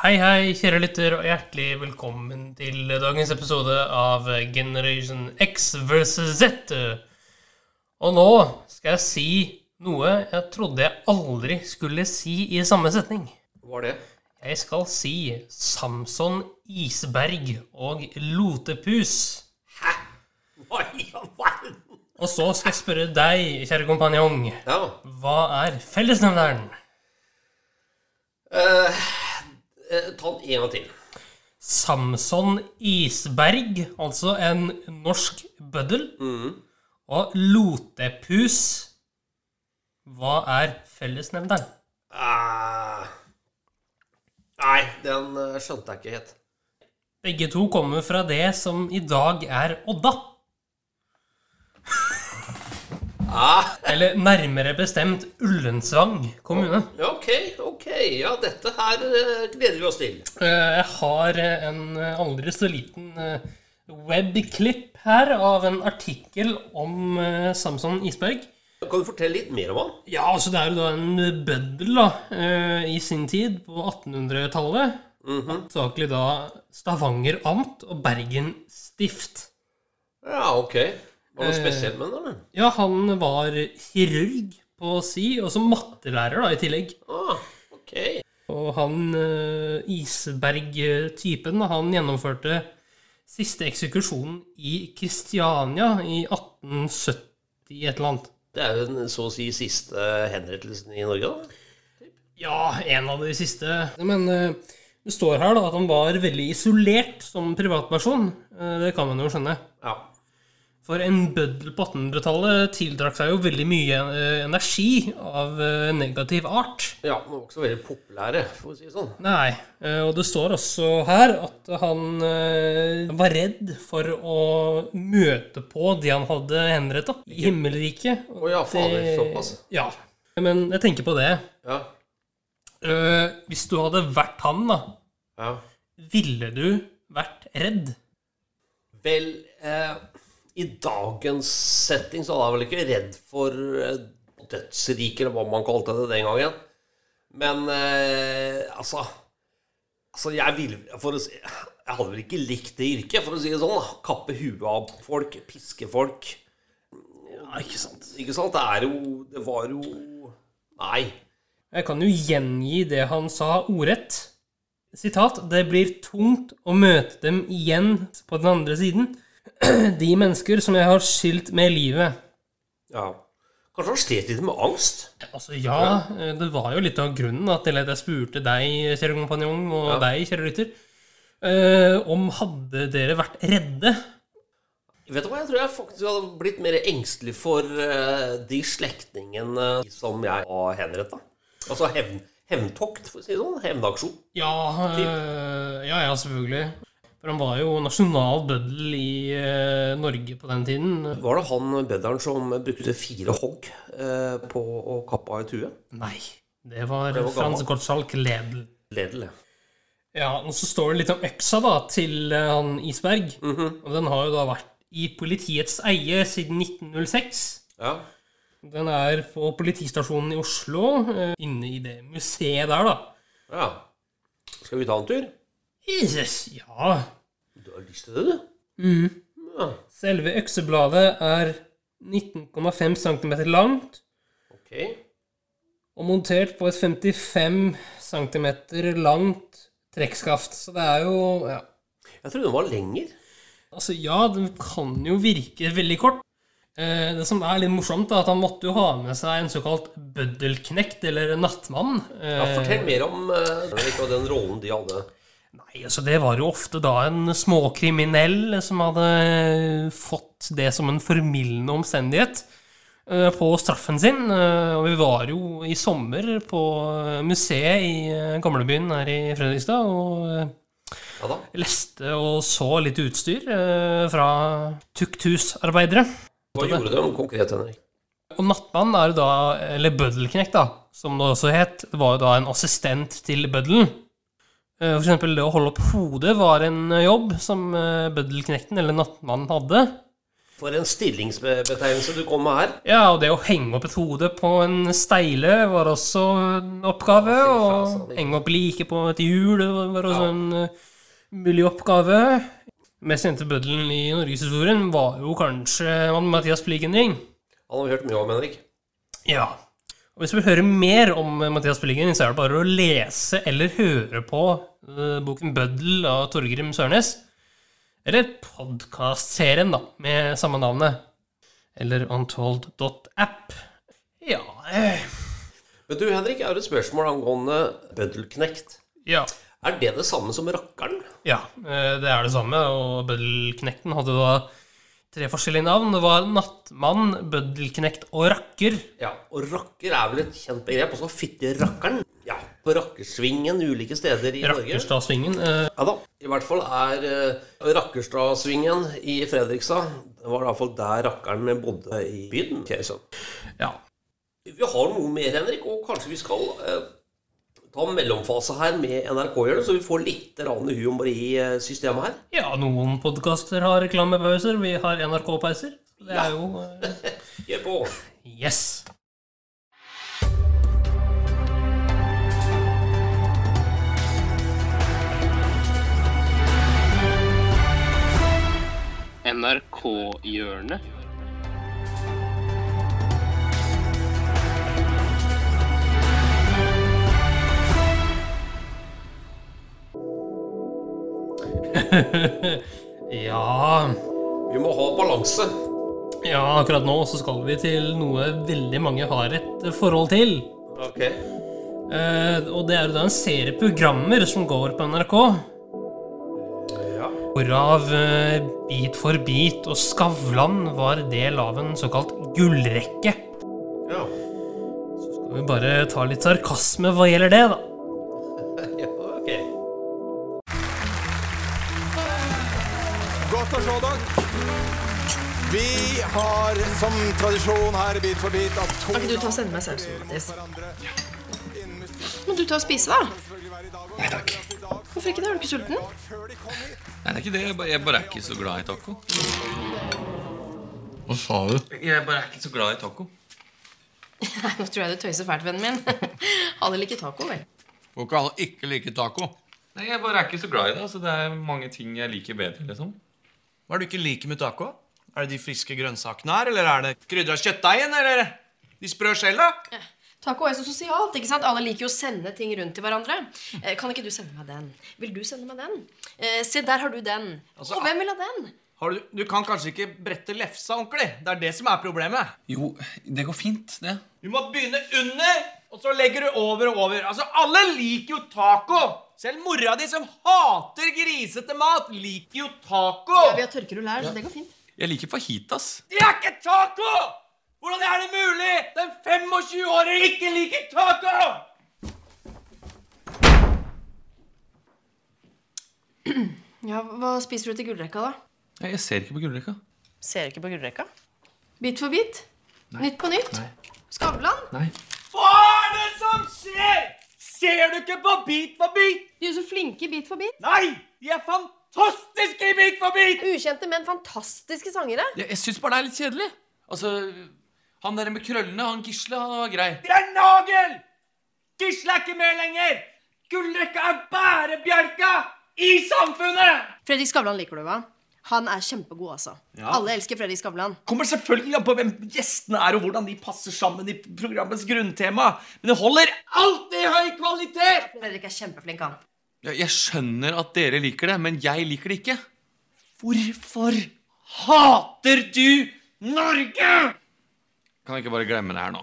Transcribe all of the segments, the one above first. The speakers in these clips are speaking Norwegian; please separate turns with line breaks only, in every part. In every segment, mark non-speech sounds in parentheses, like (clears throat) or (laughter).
Hei, hei, kjære lytter, og hjertelig velkommen til dagens episode av Generation X versus Z. Og nå skal jeg si noe jeg trodde jeg aldri skulle si i samme setning.
Var det?
Jeg skal si Samson Isberg og Lotepus.
Hva i all verden?
Og så skal jeg spørre deg, kjære kompanjong,
Ja.
hva er fellesnevneren?
Eh, eh, ta den en gang til.
Samson Isberg, altså en norsk bøddel, og Lotepus. Hva er fellesnevneren?
Eh, nei, den eh, skjønte jeg ikke helt.
Begge to kommer fra det som i dag er Odda.
Ah,
Eller nærmere bestemt Ullensvang kommune.
ja, ok, ok. Ja, dette her eh, gleder vi oss til.
Eh, Jeg har eh, en eh, aldri så liten eh, webklipp her av en artikkel om eh, Samson Isberg.
Kan du fortelle litt mer om han?
Ja, altså det er jo da en bøddel da, eh, i sin tid, på 1800-tallet. Saklig da Stavanger amt og Bergen stift.
Ja, ok. Var det noe spesielt med den, eller?
Ja, han var kirurg på si, og så mattelærer da i tillegg.
Ah, ok.
Og han eh, Isberg-typen, han gjennomførte siste eksekusjonen i Kristiania i 1870 et eller annet.
Det er jo den så å si siste henrettelsen i Norge, da.
Ja, en av de siste. Men eh, det står her da at han var veldig isolert som privatperson. Eh, det kan man jo skjønne.
Ja.
For en bøddel på 1800-tallet tildrakk seg jo veldig mye eh, energi av eh, negativ art.
Ja, men var ikke så veldig populære, for å si det sånn.
Nei, eh, og det står også her at han eh, var redd for å møte på de han hadde henretta i himmelriket.
Å ja, fader, såpass.
Ja. Men jeg tenker på det.
Ja,
Eh, Hvis du hadde vært han, da,
ja.
ville du vært redd?
Vel, eh, i dagens setting så var jeg vel ikke redd for eh, dødsriket, eller hva man kalte det den gangen. Men eh, altså Altså, jeg ville For å si Jeg hadde vel ikke likt det yrket, for å si det sånn. da. Kappe huet av folk, piske folk.
Ja, ikke sant.
Ikke sant? Det er jo Det var jo Nei.
Jeg kan jo gjengi det han sa ordrett. Sitat, det blir tungt å møte dem igjen på den andre siden. (clears throat) De mennesker som jeg har skilt med livet.
Ja. Kanskje han slet litt med angst?
Altså, ja, eh, det var jo litt av grunnen da, til at jeg spurte deg, kjære kompanjong, og
Ja.
deg, kjære lytter, eh, om hadde dere vært redde?
Vet du hva, Jeg tror jeg faktisk hadde blitt mer engstelig for eh, de slektningene som jeg har henretta. Altså hevn, hevntokt, for å si det sånn. Hevnaksjon.
Ja, eh, ja, ja, selvfølgelig. For han var jo nasjonal bøddel i eh, Norge på den tiden.
Var det han bøddelen som brukte fire hogg eh, på å kappe av et hue?
Nei, det var,
Det var
Frans
gammel.
Gottschalk Ledel.
Ledel.
Ja, og så står det litt om øksa da, til eh, han Isberg.
Mhm.
Og den har jo da vært i politiets eie siden 1906.
Ja.
Den er på politistasjonen i Oslo, eh, inne i det museet der, da.
ja. Skal vi ta en tur?
Jesus, ja.
Du har lyst til det, du? Ja.
Selve øksebladet er 19,5 cm langt
Ok.
og montert på et 55 cm langt trekkskaft. Så det er jo ja.
Jeg trodde den var lenger.
Altså, ja, den kan jo virke veldig kort. Eh, Det som er litt morsomt, er at han måtte jo ha med seg en såkalt bøddelknekt, eller nattmann.
Ja,
eh,
fortell mer om eh, den rollen de hadde.
Nei, altså Det var jo ofte da en småkriminell som hadde fått det som en formildende omstendighet eh, på straffen sin. Eh, Og vi var jo i sommer på eh, museet i eh, gamlebyen her i Fredrikstad og eh,
Ja da.
leste og så litt utstyr eh, fra tukthusarbeidere.
Hva gjorde de konkret, Henrik?
Og Nattmann er jo da, eller Bøddelknekt, da, som det også het, det var jo da en assistent til bøddelen. Eh, For eksempel det å holde opp hodet var en eh, jobb som eh, bøddelknekten, eller Nattmannen, hadde.
For en stillingsbetegnelse du kom med her.
Ja, og det å henge opp et hode på en steile var også en oppgave.
Fy faen,
Og
sant.
henge opp like på et hjul var også
Ja.
en eh, mulig oppgave. Mest kjente bøddelen i norgeshistorien var jo kanskje Mathias Pligenring.
Han har vi hørt mye om, Henrik.
Ja. Og hvis du vil høre mer om eh, Mathias Belligen, så er det bare å lese eller høre på eh, boken 'Bøddel' av Torgrim Sørnes. Eller podkastserien, da, med samme navnet. Eller untold.app. Ja, eh,
Men du, Henrik, jeg har et spørsmål angående bøddelknekt.
ja.
Er det det samme som rakkeren?
Ja, eh, det er det samme. Og Bøddelknekten hadde da tre forskjellige navn. Det var Nattmann, Bøddelknekt og Rakker.
Ja, og rakker er vel et kjent begrep. Også fitterakkeren. Ja, på rakkersvingen ulike steder i Norge.
Rakkerstadsvingen. eh,
Ja da. I hvert fall er eh, Rakkerstadsvingen i Fredrikstad Det var i hvert fall der rakkeren bodde i byen. ok, så.
Ja.
Vi har noe mer, Henrik, og kanskje vi skal eh, ta en mellomfase her med NRK-hjørnet, så vi får litt rane hu og mari-systemet eh, her.
Ja, noen podkaster har reklamepauser. Vi har NRK-pauser. Det
Ja.
er jo eh,
Kjør på.
Yes!
NRK-hjørnet.
Ja
Vi må ha balanse.
Ja, akkurat nå så skal vi til noe veldig mange har et eh, forhold til.
Ok.
Eh, og det er jo da en serie programmer som går på NRK.
Ja.
Hvorav eh, Bit for bit og Skavlan var del av en såkalt gullrekke.
Ja.
Så skal vi bare ta litt sarkasme hva gjelder det, da.
ja ok.
Godt å se dere. Vi har som tradisjon her i Bit for bit at to
Kan ikke du ta og sende meg sausen, Mattis?
hverandre innen musikk
Må du ta og spise, da?
selvfølgelig hver i dag. Nei takk.
Hvorfor ikke det? Er du ikke sulten?
Før de kom hit
Nei, det er ikke det. Jeg bare, jeg bare er ikke så glad i taco.
Hva sa du?
Jeg bare er ikke så glad i taco.
Nei, nå tror jeg du tøyser fælt, vennen min. (laughs) Alle liker taco, vel?
Får ikke alle ikke like taco.
Nei, jeg bare er ikke så glad i det. Altså, det er mange ting jeg liker bedre, liksom.
Hva er det du ikke liker med taco? Er det de friske grønnsakene her, eller er det krydra kjøttdeigen, eller de sprø skjella?
Taco er jo så sosialt, ikke sant? Alle liker jo å sende ting rundt til hverandre. Eh, Kan ikke du sende meg den? Vil du sende meg den? Eh, Se, der har du den.
Altså,
Og hvem vil ha den?
Har du, du kan kanskje ikke brette lefsa ordentlig. Det er det som er problemet.
Jo, det går fint, det.
Du må begynne under, og så legger du over og over. Altså, Alle liker jo taco! Selv mora di som hater grisete mat, liker jo taco!
Vi har tørkerull her, så det går fint.
Jeg liker fajitas.
Det er ikke taco! Hvordan er det mulig? Den 25-åringen ikke liker taco!
Ja, Hva spiser du til gullrekka, da?
Nei, jeg ser ikke på gullrekka.
Ser ikke på gullrekka. Bit for bit? Nytt på nytt? Skavlan?
Nei.
Hva er det som skjer? Ser du ikke på Bit for bit?
De er jo så flinke i Bit for bit.
Nei, de er fantastiske i Bit for bit!
Ukjente, men fantastiske sangere.
Jeg, jeg syns bare det er litt kjedelig. Altså, han der med krøllene, han Gisle, han var grei.
Det er Nagel! Gisle er ikke med lenger! Gullrekka er bærebjelka i samfunnet!
Fredrik Skavlan liker du, hva? Han er kjempegod, altså. Alle elsker Fredrik Skavlan.
Kommer selvfølgelig an på hvem gjestene er, og hvordan de passer sammen i programmets grunntema. Men det holder alltid høy kvalitet!
Fredrik er kjempeflink, han.
Jeg, jeg skjønner at dere liker det, men jeg liker det ikke.
Hvorfor hater du Norge?
Kan vi ikke bare glemme det her nå?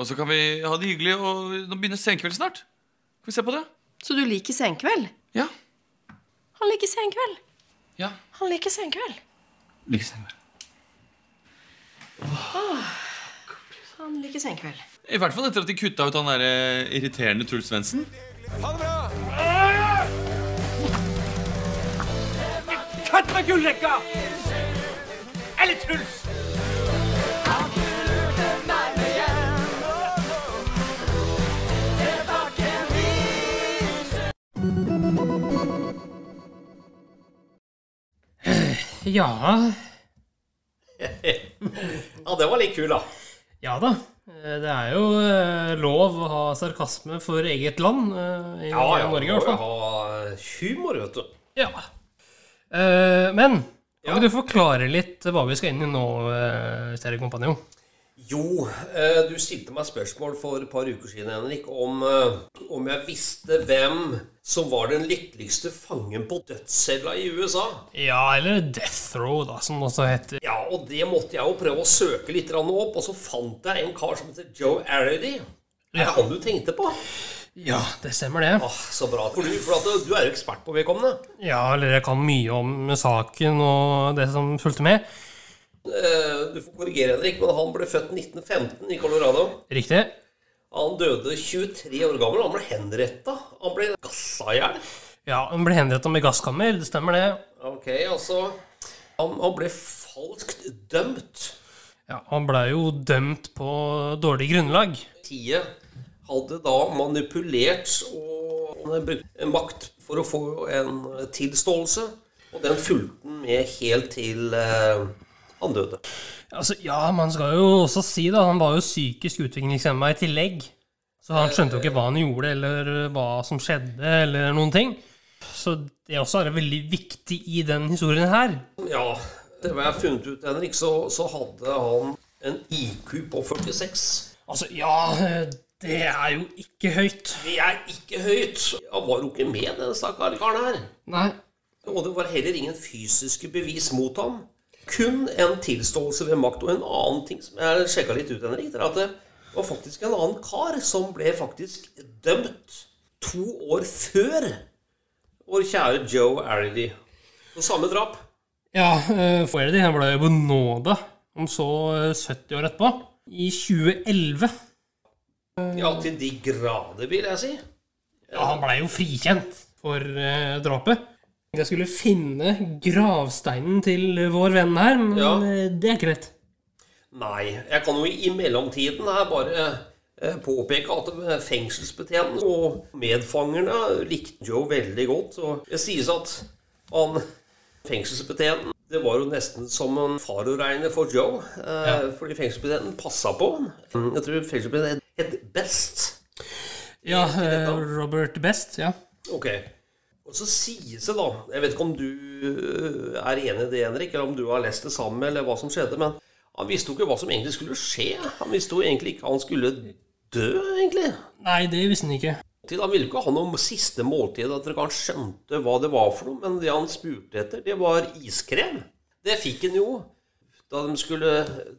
Og så kan vi ha det hyggelig, og nå begynner senkveld snart. Skal vi se på det?
Så du liker Senkveld?
Ja.
Han liker Senkveld.
Ja.
Han liker Senkveld.
Like senkveld.
Han liker Senkveld.
I hvert fall etter at de kutta ut han der eh, irriterende Truls Svendsen.
Ha det bra!
Kutt med gullrekka! Eller Truls!
Ja
Ja, det var litt kul, da.
Ja da. Eh, Det er jo eh, lov å ha sarkasme for eget land. eh, I
Ja, ja,
Norge, i hvert fall.
Ha humor, vet du.
Ja. Eh, men
Ja.
kan ikke du forklare litt hva vi skal inn i nå, eh, kjære kompanjong?
Jo, eh, du stilte meg spørsmål for et par uker siden, Henrik, om, eh, om jeg visste hvem som var den lykkeligste fangen på dødscella i USA.
Ja, eller Death Row, da, som det også heter.
Ja, og det måtte jeg jo prøve å søke litt grann opp, og så fant jeg en kar som heter Joe Arity. Det er
Ja.
han du tenkte på.
Ja, det stemmer det.
Ah, så bra for du, for at du- du er jo ekspert på vedkommende.
Ja, eller jeg kan mye om saken og det som fulgte med.
Eh, Du får korrigere, Henrik, men han ble født 1915 i Colorado.
Riktig.
Han døde 23 år gammel. Han ble henretta. Han ble gassa i hjel.
Ja, hun ble henrettet med gasskammer, det stemmer det.
Ok, altså Han, han ble falskt dømt.
Ja, Han blei jo dømt på dårlig grunnlag.
Politiet hadde da manipulert og brukt makt for å få en tilståelse. Og den fulgte han med helt til eh, han døde.
Altså, ja, man skal jo også si det. Han var jo psykisk utviklingshemma i tillegg. Så han skjønte jo ikke hva han gjorde, eller hva som skjedde, eller noen ting. Så det også er veldig viktig i den historien her.
Ja, det var jeg funnet ut, Henrik, så, så hadde han en IQ på 46.
Altså, ja, det er jo ikke høyt.
Det er ikke høyt. Han var jo ikke med, den stakkars karen her.
Nei.
Og det var heller ingen fysiske bevis mot ham. Kun en tilståelse ved makt. Og en annen ting som jeg sjekka litt ut, Henrik, det er at det var faktisk en annen kar som ble faktisk dømt to år før vår kjære Joe Arredy. Og samme drap.
Ja, eh, Foerdi han ble jo benåda om så eh, 70 år etterpå. I 2011.
Ja, til de grader, vil jeg si.
Ja, han blei jo frikjent for eh, drapet. Jeg skulle finne gravsteinen til vår venn her, men
Ja.
eh, det er ikke lett.
Nei. Jeg kan jo i mellomtiden her bare eh, påpeke at eh, fengselsbetjenten og medfangerne likte Joe veldig godt. Og det sies at han fengselsbetjenten Det var jo nesten som en far å regne for Joe. Eh, Fordi fengselsbetjenten passa på ham. Jeg tror fengselsbetjenten het Best.
Ja, eh,
dette.
Robert Best, ja.
Ok. Og så sies det, da Jeg vet ikke om du øh, er enig i det, Henrik, eller om du har lest det sammen, eller hva som skjedde, men han visste jo ikke hva som egentlig skulle skje. Han visste jo egentlig ikke Han skulle dø, egentlig.
Nei, det visste han ikke.
Til Han ville ikke ha noe siste måltid, at dere kanskje skjønte hva det var for noe, men det han spurte etter, det var iskrem. Det fikk han jo. Da de skulle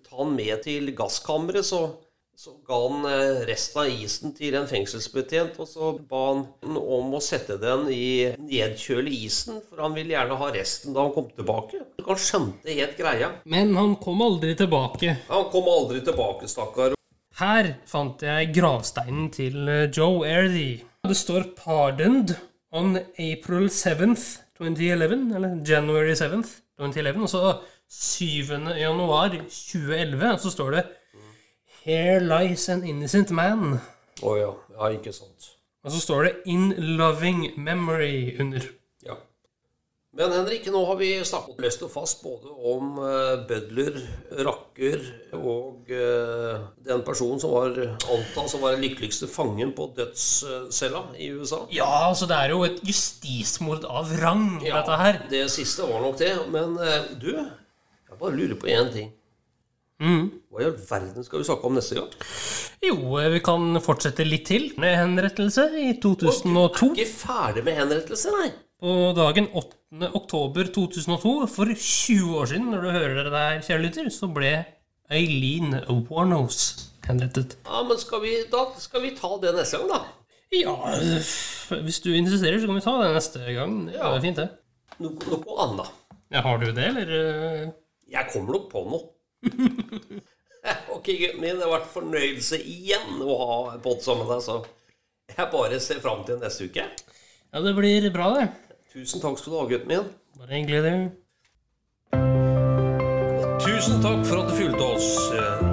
ta han med til gasskammeret, så, så ga han eh, resten av isen til en fengselsbetjent, og så ba han den om å sette den i nedkjøle isen, for han ville gjerne ha resten da han kom tilbake. Han skjønte helt greia.
Men han kom aldri tilbake.
Han kom aldri tilbake, stakkar.
Her fant jeg gravsteinen til eh, Joe Airdy. Det står 'Pardoned on April 7th, 2011', eller 'January 7th, 2011', og så 7. januar 2011, og så står det 'Here lies an innocent man'.
Å ja. Ja, ikke sant.
Og så står det 'In loving memory' under.
Ja. Men Henrik, nå har vi snakket løst og fast både om eh, bødler, rakker og eh, den personen som var antatt som var den lykkeligste fangen på dødscella i USA.
Ja, altså det er jo et justismord av rang, dette her.
Det siste var nok det. Men eh, du, jeg bare lurer på én ting. Hva i all verden skal vi snakke om neste gang?
Jo, eh, vi kan fortsette litt til med henrettelse i 2002.
Ikke ferdig med henrettelser, nei.
På dagen 8. oktober 2002, for 20 år siden, når du hører det der, kjære lytter, så ble Eileen Warnos henrettet.
Ja, men skal vi, Da skal vi ta det neste gang, da.
Ja, f- hvis du insisterer, så kan vi ta det neste gang. Ja, det er fint, det.
No, noe annet.
Ja, har du det, eller? eh?
Jeg kommer nok på noe. (laughs) ok, gutten min. Det har vært fornøyelse igjen å ha en podd sammen med deg, så jeg bare ser fram til neste uke.
Ja, det blir bra, det.
Tusen takk skal du ha, gutten min.
Bare hyggelig, det.
Tusen takk for at du fulgte oss.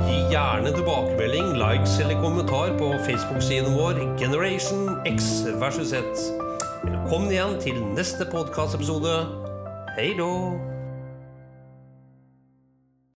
Gi gjerne tilbakemelding, likes eller kommentar på Facebook-siden vår Generation X versus Z. Velkommen igjen til neste podkastepisode. Hei då!